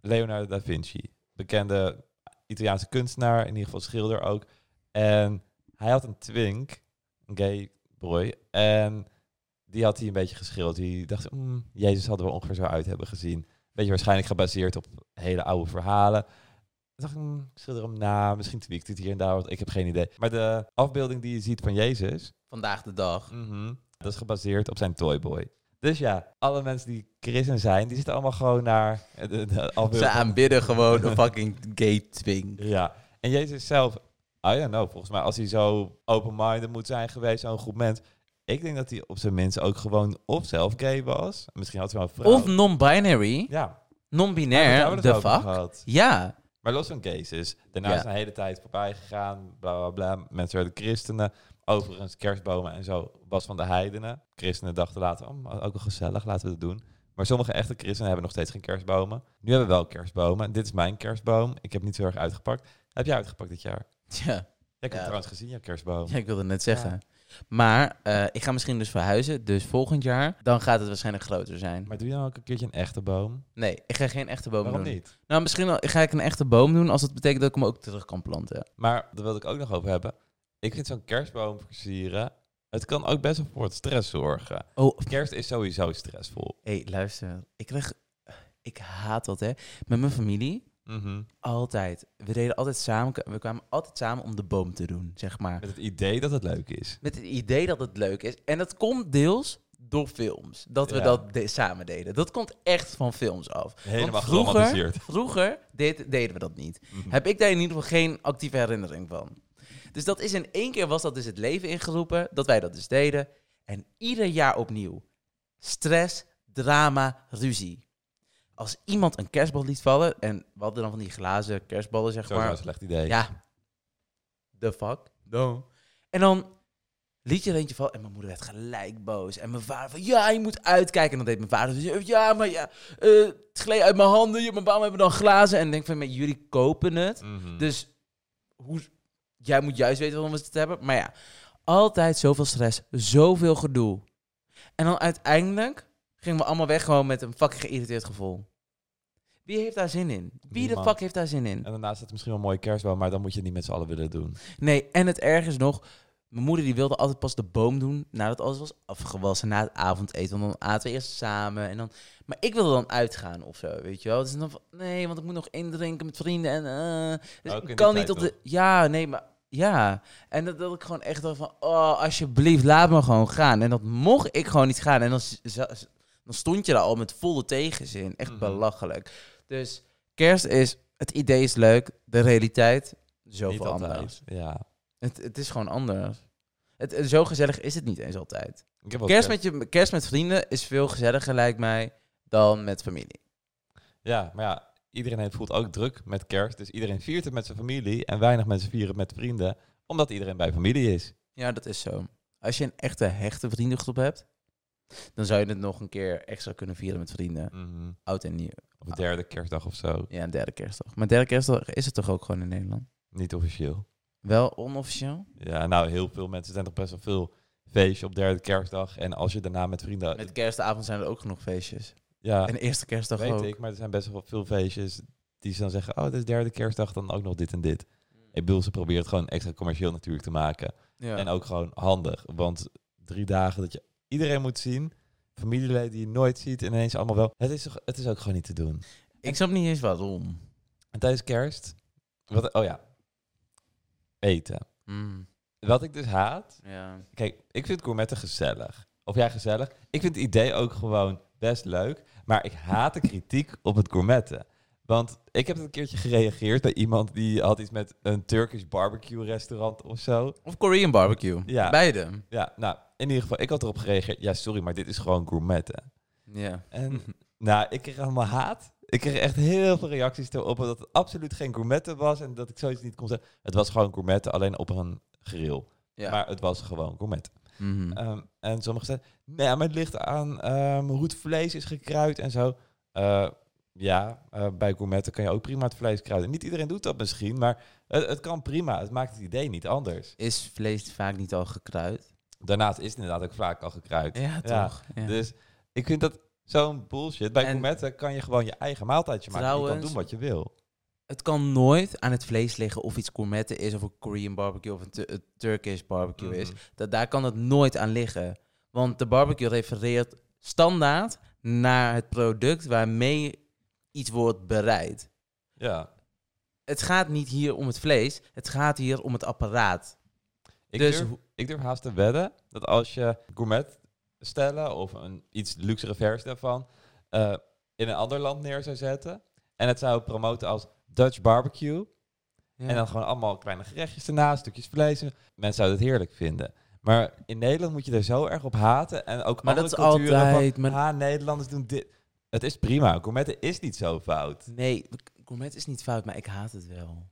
Speaker 2: Leonardo da Vinci. Bekende Italiaanse kunstenaar, in ieder geval schilder ook. En hij had een twink, een gay boy, en die had hij een beetje geschilderd. Die dacht, "Hmm, Jezus hadden we ongeveer zo uit hebben gezien. Beetje waarschijnlijk gebaseerd op hele oude verhalen. Toen dacht ik, "Hmm, ik schilder hem na, misschien tweakt het hier en daar, want ik heb geen idee. Maar de afbeelding die je ziet van Jezus,
Speaker 3: Vandaag de dag.
Speaker 2: mhm, dat is gebaseerd op zijn Toyboy. Dus ja, alle mensen die christen zijn, die zitten allemaal gewoon naar de, de afbeelding.
Speaker 3: Ze aanbidden gewoon een fucking gay twink.
Speaker 2: Ja, en Jezus zelf, I don't know, volgens mij als hij zo open-minded moet zijn geweest, zo'n goed mens, Ik denk dat hij op zijn minst ook gewoon of zelf gay was. Misschien had hij wel een vrouw.
Speaker 3: Of non-binary,
Speaker 2: ja, daar hebben
Speaker 3: non-binair,
Speaker 2: we
Speaker 3: de
Speaker 2: het over
Speaker 3: fuck.
Speaker 2: gehad.
Speaker 3: Ja,
Speaker 2: Maar los van gays is, daarna
Speaker 3: Ja.
Speaker 2: is een hele tijd voorbij gegaan, bla bla bla. Mensen werden christenen. Overigens, kerstbomen en zo was van de heidenen. Christenen dachten later, oh, maar ook wel gezellig, laten we het doen. Maar sommige echte christenen hebben nog steeds geen kerstbomen. Nu hebben we wel kerstbomen. Dit is mijn kerstboom. Ik heb niet zo erg uitgepakt. Heb jij uitgepakt dit jaar?
Speaker 3: ja.
Speaker 2: Ik heb
Speaker 3: Ja.
Speaker 2: het trouwens gezien, jouw kerstboom.
Speaker 3: Ja, ik wilde net zeggen. Maar eh, ik ga misschien dus verhuizen, dus volgend jaar, dan gaat het waarschijnlijk groter zijn.
Speaker 2: Maar doe je dan ook een keertje een echte boom?
Speaker 3: Nee, ik ga geen echte boom
Speaker 2: Waarom
Speaker 3: doen.
Speaker 2: niet?
Speaker 3: Nou, misschien al- ga ik een echte boom doen als dat betekent dat ik hem ook terug kan planten.
Speaker 2: Maar daar wilde ik ook nog over hebben. Ik vind zo'n kerstboom versieren, het kan ook best wel voor het stress zorgen.
Speaker 3: Oh,
Speaker 2: Kerst is sowieso stressvol.
Speaker 3: hé, hey, luister. Ik kreeg... Ik haat dat, hè. Met mijn familie,
Speaker 2: Mhm.
Speaker 3: altijd. We deden altijd samen... We kwamen altijd samen om de boom te doen, zeg maar.
Speaker 2: Met het idee dat het leuk is.
Speaker 3: Met het idee dat het leuk is. En dat komt deels door films. Dat we
Speaker 2: Ja.
Speaker 3: dat de- samen deden. Dat komt echt van films af.
Speaker 2: Helemaal
Speaker 3: Want vroeger-
Speaker 2: geromantiseerd.
Speaker 3: Vroeger deed- deden we dat niet.
Speaker 2: Hm.
Speaker 3: Heb ik daar in ieder geval geen actieve herinnering van. Dus dat is in één keer was dat dus het leven ingeroepen, dat wij dat dus deden. En ieder jaar opnieuw. Stress, drama, ruzie. Als iemand een kerstbal liet vallen, en we hadden dan van die glazen kerstballen, zeg
Speaker 2: Sowieso een
Speaker 3: maar.
Speaker 2: slecht idee.
Speaker 3: Ja. The fuck? No. En dan liet je er eentje vallen en mijn moeder werd gelijk boos. En mijn vader van, ja, je moet uitkijken. En dan deed mijn vader, dus, ja, maar ja, eh, het gleed uit mijn handen. Je- Maar waarom hebben we dan glazen? En ik denk van, maar jullie kopen het.
Speaker 2: Mhm.
Speaker 3: Dus hoe, jij moet juist weten waarom we het hebben. Maar ja, altijd zoveel stress, zoveel gedoe. En dan uiteindelijk gingen we allemaal weg gewoon met een fucking geïrriteerd gevoel. Wie heeft daar zin in? Wie
Speaker 2: Niemand.
Speaker 3: de fuck heeft daar zin in?
Speaker 2: En daarnaast staat misschien wel een mooie kerstboom, maar dan moet je het niet met z'n allen willen doen.
Speaker 3: Nee, en het erg is nog... Mijn moeder die wilde altijd pas de boom doen nadat alles was afgewassen, na het avondeten. Want dan aten we eerst samen. En dan... Maar ik wilde dan uitgaan of zo, weet je wel. Dus dan van, nee, want ik moet nog indrinken met vrienden. En, eh, dus
Speaker 2: Ook in die
Speaker 3: ik kan
Speaker 2: tijd
Speaker 3: niet op de... Ja, nee, maar... Ja. En dat, dat ik gewoon echt dacht van, oh, alsjeblieft, laat me gewoon gaan. En dat mocht ik gewoon niet gaan. En dan, z- z- dan stond je daar al met volle tegenzin. Echt
Speaker 2: Mhm.
Speaker 3: belachelijk. Dus kerst is, het idee is leuk, de realiteit...
Speaker 2: Niet
Speaker 3: Zoveel
Speaker 2: altijd.
Speaker 3: anders.
Speaker 2: Ja.
Speaker 3: Het, het is gewoon anders. Het, het- zo gezellig is het niet eens altijd.
Speaker 2: Ik heb wel
Speaker 3: Kerst met, je, kerst met vrienden is veel gezelliger, lijkt mij, dan met familie.
Speaker 2: Ja, maar ja, iedereen heeft- voelt ook druk met kerst. Dus iedereen viert het met zijn familie en weinig mensen vieren het met vrienden. Omdat iedereen bij familie is.
Speaker 3: Ja, dat is zo. Als je een echte hechte vriendengroep hebt, dan zou je het nog een keer extra kunnen vieren met vrienden.
Speaker 2: Mhm.
Speaker 3: Oud en nieuw.
Speaker 2: Op de derde kerstdag of zo.
Speaker 3: Ja, een derde kerstdag. Maar derde kerstdag is het toch ook gewoon in Nederland?
Speaker 2: Niet officieel.
Speaker 3: Wel onofficieel?
Speaker 2: Ja, nou, heel veel mensen zijn toch best wel veel feestje op derde kerstdag. En als je daarna met vrienden...
Speaker 3: Met kerstavond zijn er ook genoeg feestjes.
Speaker 2: ja,
Speaker 3: En eerste kerstdag
Speaker 2: weet
Speaker 3: ook.
Speaker 2: ik, maar er zijn best wel veel feestjes die ze dan zeggen, oh, het is derde kerstdag, dan ook nog dit en dit. Ik bedoel, ze proberen het gewoon extra commercieel natuurlijk te maken.
Speaker 3: Ja.
Speaker 2: En ook gewoon handig, want drie dagen dat je iedereen moet zien, familieleden die je nooit ziet en ineens allemaal wel. Het is, toch- het is ook gewoon niet te doen.
Speaker 3: Ik snap niet eens waarom.
Speaker 2: En tijdens kerst, wat, oh ja, eten.
Speaker 3: Mm,
Speaker 2: Wat ik dus haat,
Speaker 3: ja.
Speaker 2: kijk, ik vind gourmetten gezellig. Of jij gezellig. Ik vind het idee ook gewoon best leuk. Maar ik haat de kritiek op het gourmetten. Want ik heb het een keertje gereageerd bij iemand die had iets met een Turkish barbecue restaurant of zo.
Speaker 3: Of Korean barbecue.
Speaker 2: Ja.
Speaker 3: Beide.
Speaker 2: Ja, nou, in ieder geval, ik had erop gereageerd. Ja, sorry, maar dit is gewoon gourmetten.
Speaker 3: Ja.
Speaker 2: En nou, ik kreeg allemaal haat. Ik kreeg echt heel veel reacties erop dat het absoluut geen gourmetten was. En dat ik zoiets niet kon zeggen. Het was gewoon gourmetten, alleen op een grill.
Speaker 3: Ja.
Speaker 2: Maar het was gewoon gourmet.
Speaker 3: Mhm.
Speaker 2: Ehm, en sommigen zeiden, nee, maar het ligt aan ehm, hoe het vlees is gekruid en zo. Eh, ja, eh, bij gourmetten kan je ook prima het vlees kruiden. Niet iedereen doet dat misschien, maar het, het kan prima. Het maakt het idee niet anders.
Speaker 3: Is vlees vaak niet al gekruid?
Speaker 2: Daarnaast is het inderdaad ook vaak al gekruid.
Speaker 3: Ja,
Speaker 2: toch? Dus ik vind dat zo'n bullshit. Bij
Speaker 3: En-
Speaker 2: gourmetten kan je gewoon je eigen maaltijdje maken. je kan
Speaker 3: Trouwens-
Speaker 2: doen wat je wil.
Speaker 3: het kan nooit aan het vlees liggen of iets gourmetten is, of een Korean barbecue of een, Tu- een Turkish barbecue is.
Speaker 2: Mhm.
Speaker 3: Dat, daar kan het nooit aan liggen. Want de barbecue refereert standaard naar het product waarmee iets wordt bereid.
Speaker 2: Ja.
Speaker 3: Het gaat niet hier om het vlees, het gaat hier om het apparaat.
Speaker 2: Ik,
Speaker 3: Dus
Speaker 2: durf,
Speaker 3: hoe-
Speaker 2: ik durf haast te wedden dat als je gourmet stellen of een iets luxere versie daarvan eh, in een ander land neer zou zetten en het zou promoten als Dutch barbecue en dan gewoon allemaal kleine gerechtjes ernaast, stukjes vlees, en- mensen zouden het heerlijk vinden. Maar in Nederland moet je daar zo erg op haten. En ook
Speaker 3: Maar dat
Speaker 2: andere
Speaker 3: is
Speaker 2: culturen
Speaker 3: altijd,
Speaker 2: van,
Speaker 3: maar-
Speaker 2: "Ah, Nederlanders doen dit. Het is prima. Gourmetten is niet zo fout.
Speaker 3: Nee, gourmet is niet fout, maar ik haat het wel.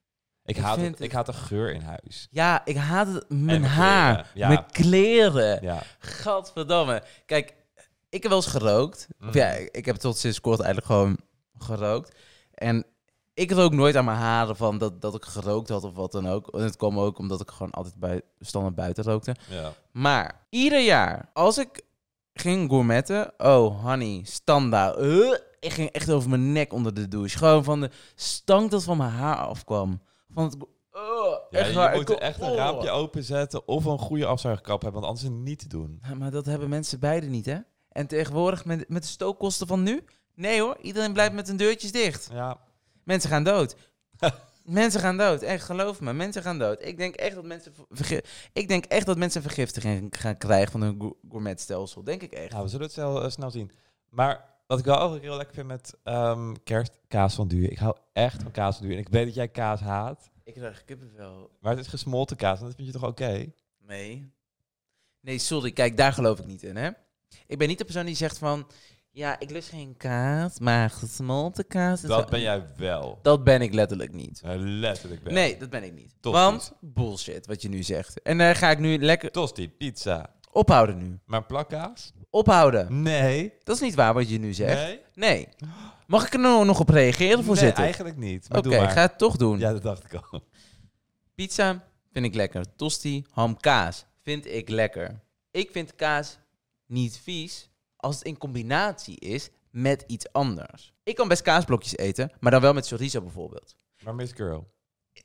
Speaker 2: Ik,
Speaker 3: Ik
Speaker 2: haat,
Speaker 3: vind
Speaker 2: het,
Speaker 3: het-
Speaker 2: ik haat de geur in huis.
Speaker 3: Ja, ik haat het. Mijn
Speaker 2: mijn
Speaker 3: haar,
Speaker 2: kleren, ja.
Speaker 3: mijn kleren.
Speaker 2: Ja.
Speaker 3: Gadverdamme. Kijk, ik heb wel eens gerookt.
Speaker 2: Mhm.
Speaker 3: Of ja, ik heb tot sinds kort eigenlijk gewoon gerookt. En ik rook nooit aan mijn haren van dat, dat ik gerookt had of wat dan ook. En het kwam ook omdat ik gewoon altijd bui standaard buiten rookte.
Speaker 2: ja.
Speaker 3: Maar ieder jaar, als ik ging gourmetten... Oh, honey, standaard. Uh, ik ging echt over mijn nek onder de douche. Gewoon van de stank dat van mijn haar afkwam. Van het... Oh,
Speaker 2: Ja,
Speaker 3: echt
Speaker 2: je
Speaker 3: waar,
Speaker 2: moet
Speaker 3: ik-
Speaker 2: echt een
Speaker 3: oh.
Speaker 2: raampje openzetten of een goede afzuigkap hebben, want anders is het niet te doen.
Speaker 3: Ja, Nou, maar dat hebben mensen beide niet, hè? En tegenwoordig met, met de stookkosten van nu? Nee hoor, iedereen blijft met hun deurtjes dicht.
Speaker 2: Ja,
Speaker 3: Mensen gaan dood. mensen gaan dood, echt geloof me, mensen gaan dood. Ik denk echt dat mensen, vergi- ik denk echt dat mensen vergiftiging gaan krijgen van hun gour- gourmetstelsel. Denk ik echt.
Speaker 2: nou, we zullen het zo eh, snel zien. Maar wat ik wel altijd heel lekker vind met ehm kerst, kaas van duur. Ik hou echt van kaas van duur. En ik weet dat jij kaas haat,
Speaker 3: Ik krijg kippenvel
Speaker 2: maar het is gesmolten kaas en dat vind je toch oké?
Speaker 3: mee. Nee, sorry, kijk, daar geloof ik niet in, hè? Ik ben niet de persoon die zegt van... Ja, ik lust geen kaas, maar gesmolten kaas... is wel-
Speaker 2: Dat ben jij wel.
Speaker 3: Dat ben ik letterlijk niet.
Speaker 2: Eh, Letterlijk wel.
Speaker 3: Nee, dat ben ik niet.
Speaker 2: Toch
Speaker 3: Want bullshit wat je nu zegt. En daar ga ik nu lekker
Speaker 2: Tosti, pizza,
Speaker 3: ophouden nu.
Speaker 2: maar plakkaas?
Speaker 3: Ophouden.
Speaker 2: Nee.
Speaker 3: Dat is niet waar wat je nu zegt. Nee.
Speaker 2: Nee?
Speaker 3: Mag ik er nou nog op reageren,
Speaker 2: Nee,
Speaker 3: voorzitter?
Speaker 2: eigenlijk niet. Maar
Speaker 3: Oké,
Speaker 2: doe maar.
Speaker 3: ga het toch doen.
Speaker 2: Ja, dat dacht ik al.
Speaker 3: Pizza vind ik lekker. Tosti, ham, kaas vind ik lekker. Ik vind kaas niet vies als het in combinatie is met iets anders. Ik kan best kaasblokjes eten, maar dan wel met chorizo bijvoorbeeld.
Speaker 2: Maar Miss Girl.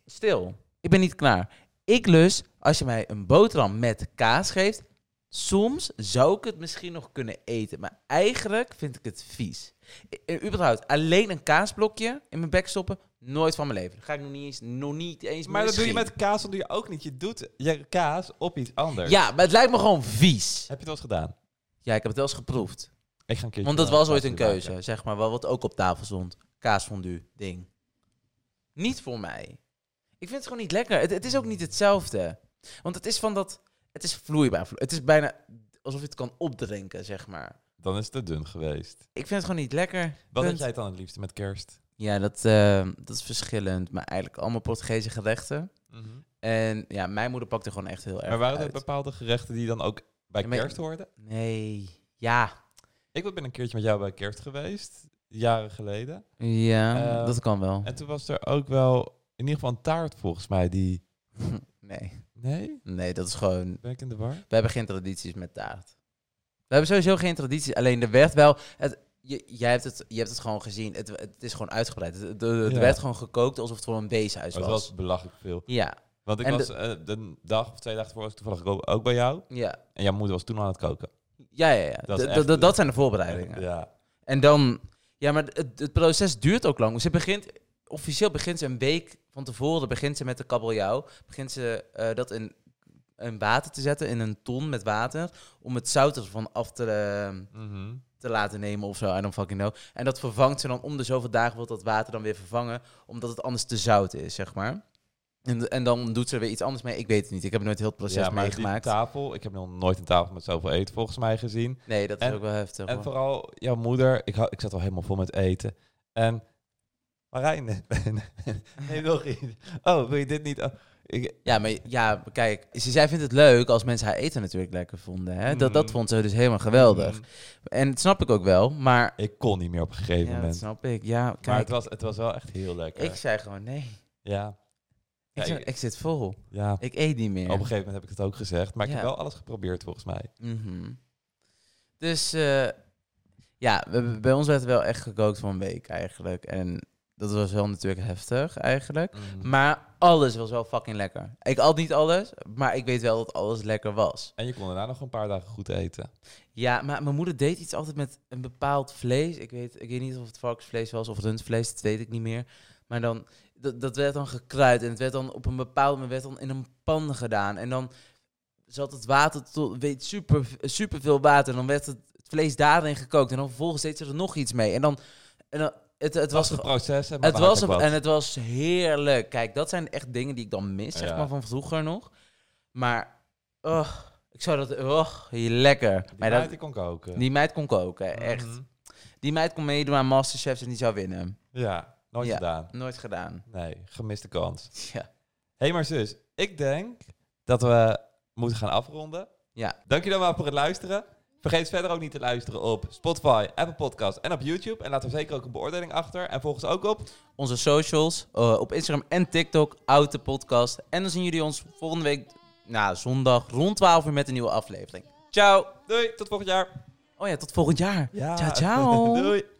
Speaker 3: Stil, ik ben niet klaar. Ik lust, als je mij een boterham met kaas geeft, soms zou ik het misschien nog kunnen eten. Maar eigenlijk vind ik het vies. I- eh, überhaupt, alleen een kaasblokje in mijn bek stoppen, nooit van mijn leven. Dat ga ik nog niet eens, nog niet eens
Speaker 2: Maar dat doe je
Speaker 3: misschien.
Speaker 2: met kaas, dat doe je ook niet. Je doet je kaas op iets anders.
Speaker 3: Ja, maar het lijkt me gewoon vies.
Speaker 2: Heb je het wel eens gedaan?
Speaker 3: Ja, ik heb het wel eens geproefd.
Speaker 2: Ik ga een keertje
Speaker 3: Want dat
Speaker 2: wel
Speaker 3: was
Speaker 2: kaas
Speaker 3: ooit een
Speaker 2: maken.
Speaker 3: keuze, zeg maar, wel wat ook op tafel stond. Kaasfondue, ding. Niet voor mij. Ik vind het gewoon niet lekker. Het, het is ook niet hetzelfde. Want het is van dat... Het is vloeibaar. vlo- Het is bijna alsof je het kan opdrinken, zeg maar.
Speaker 2: Dan is het te dun geweest.
Speaker 3: Ik vind het gewoon niet lekker.
Speaker 2: Wat
Speaker 3: Punt.
Speaker 2: had jij dan het liefste met kerst?
Speaker 3: Ja, dat, eh, dat is verschillend. Maar eigenlijk allemaal Portugese gerechten. En ja, mijn moeder pakte gewoon echt heel erg
Speaker 2: Maar waren er
Speaker 3: uit.
Speaker 2: bepaalde gerechten die dan ook bij
Speaker 3: Ja, maar-
Speaker 2: kerst hoorden?
Speaker 3: Nee. Ja.
Speaker 2: Ik ben een keertje met jou bij kerst geweest, jaren geleden.
Speaker 3: Ja,
Speaker 2: Eh,
Speaker 3: dat kan wel.
Speaker 2: En toen was er ook wel in ieder geval een taart volgens mij die...
Speaker 3: Nee.
Speaker 2: Nee?
Speaker 3: Nee, dat is gewoon...
Speaker 2: Ben ik in de war?
Speaker 3: We hebben geen tradities met taart. We hebben sowieso geen tradities. Alleen er werd wel. Het, je, jij hebt het, je hebt het gewoon gezien. Het, het is gewoon uitgebreid. Het, het- het
Speaker 2: Ja.
Speaker 3: werd gewoon gekookt alsof het voor een weeshuis
Speaker 2: Dat
Speaker 3: was.
Speaker 2: Oh, was belachelijk veel.
Speaker 3: Ja,
Speaker 2: Want ik
Speaker 3: En de-
Speaker 2: was eh, de dag of twee dagen voor was ik toevallig ook- ook bij jou.
Speaker 3: ja,
Speaker 2: En jouw moeder was toen aan het koken.
Speaker 3: ja, ja. ja.
Speaker 2: Dat is
Speaker 3: Dat,
Speaker 2: echt-
Speaker 3: dat, dat, zijn de voorbereidingen.
Speaker 2: Ja.
Speaker 3: En dan. Ja, maar het, het proces duurt ook lang. Ze begint. Officieel begint ze een week van tevoren. Begint ze met de kabeljauw. Begint ze eh, dat in, in water te zetten. In een ton met water. Om het zout ervan af te. eh,
Speaker 2: Mhm.
Speaker 3: te laten nemen of zo. I don't fucking know. En dat vervangt ze dan om de zoveel dagen wordt dat water dan weer vervangen. Omdat het anders te zout is, zeg maar. En, en dan doet ze er weer iets anders mee. Ik weet het niet. Ik heb nooit heel het proces
Speaker 2: Ja, maar
Speaker 3: meegemaakt.
Speaker 2: die tafel... Ik heb nog nooit een tafel met zoveel eten volgens mij gezien.
Speaker 3: Nee, dat is
Speaker 2: En-
Speaker 3: ook wel heftig.
Speaker 2: En
Speaker 3: hoor.
Speaker 2: vooral jouw moeder, ik, hou- ik zat al helemaal vol met eten. En Marijn, nee, nog niet. Oh, wil je dit niet? Oh, ik,
Speaker 3: Ja, maar ja, kijk. Ze, zij vindt het leuk als mensen haar eten natuurlijk lekker vonden. Hè? Dat, dat
Speaker 2: Mhm.
Speaker 3: vond ze dus helemaal geweldig.
Speaker 2: Mm,
Speaker 3: En dat snap ik ook wel. Maar
Speaker 2: Ik kon niet meer op een gegeven
Speaker 3: ja, dat
Speaker 2: moment.
Speaker 3: snap ik. Ja, kijk.
Speaker 2: Maar het was, het was wel echt heel lekker.
Speaker 3: Ik zei gewoon nee.
Speaker 2: ja. Ja,
Speaker 3: Ik, zei,
Speaker 2: ik-
Speaker 3: ik zit vol.
Speaker 2: ja, op
Speaker 3: Ik eet niet meer.
Speaker 2: een gegeven moment heb ik het ook gezegd. Maar ik
Speaker 3: Ja.
Speaker 2: heb wel alles geprobeerd volgens mij.
Speaker 3: Mhm. Dus eh, ja, we- bij ons werd wel echt gekookt voor een week eigenlijk. En dat was wel natuurlijk heftig eigenlijk. Maar alles was wel fucking lekker. Ik at niet alles, maar ik weet wel dat alles lekker was.
Speaker 2: En je kon daarna nog een paar dagen goed eten.
Speaker 3: Ja, maar mijn moeder deed iets altijd met een bepaald vlees. Ik weet, ik weet niet of het varkensvlees was of rundvlees, dat weet ik niet meer. Maar dan, dat, dat werd dan gekruid en het werd dan op een bepaald moment werd dan in een pan gedaan. En dan zat het water, tot, weet super, super veel water. En dan werd het, het vlees daarin gekookt en dan vervolgens deed ze er nog iets mee. En dan, en dan het, het
Speaker 2: Het was
Speaker 3: was,
Speaker 2: een proces. hè, Maar
Speaker 3: het was,
Speaker 2: een,
Speaker 3: een- en het was heerlijk. Kijk, dat zijn echt dingen die ik dan mis, zeg
Speaker 2: Ja.
Speaker 3: maar, van vroeger nog. Maar, oh, ik Ik zou dat... Och, lekker.
Speaker 2: Die
Speaker 3: maar
Speaker 2: meid,
Speaker 3: dat,
Speaker 2: die kon koken.
Speaker 3: die meid kon koken, echt.
Speaker 2: Mhm.
Speaker 3: Die meid kon meedoen aan Masterchefs en die zou winnen.
Speaker 2: Ja, nooit
Speaker 3: Ja.
Speaker 2: gedaan.
Speaker 3: Nooit gedaan.
Speaker 2: Nee, gemiste kans.
Speaker 3: Ja.
Speaker 2: Hé, hey, maar zus, ik denk dat we moeten gaan afronden.
Speaker 3: Ja.
Speaker 2: Dankjewel wel voor het luisteren. Vergeet verder ook niet te luisteren op Spotify, Apple Podcast en op YouTube. En laat er zeker ook een beoordeling achter. En volg ons ook op.
Speaker 3: Onze socials, eh, op Instagram en TikTok, Oud de Podcast. En dan zien jullie ons volgende week, nou, zondag, rond 12 uur met een nieuwe aflevering. Ciao!
Speaker 2: Doei, tot volgend jaar.
Speaker 3: Oh ja, tot volgend jaar. ciao, ciao.
Speaker 2: Doei.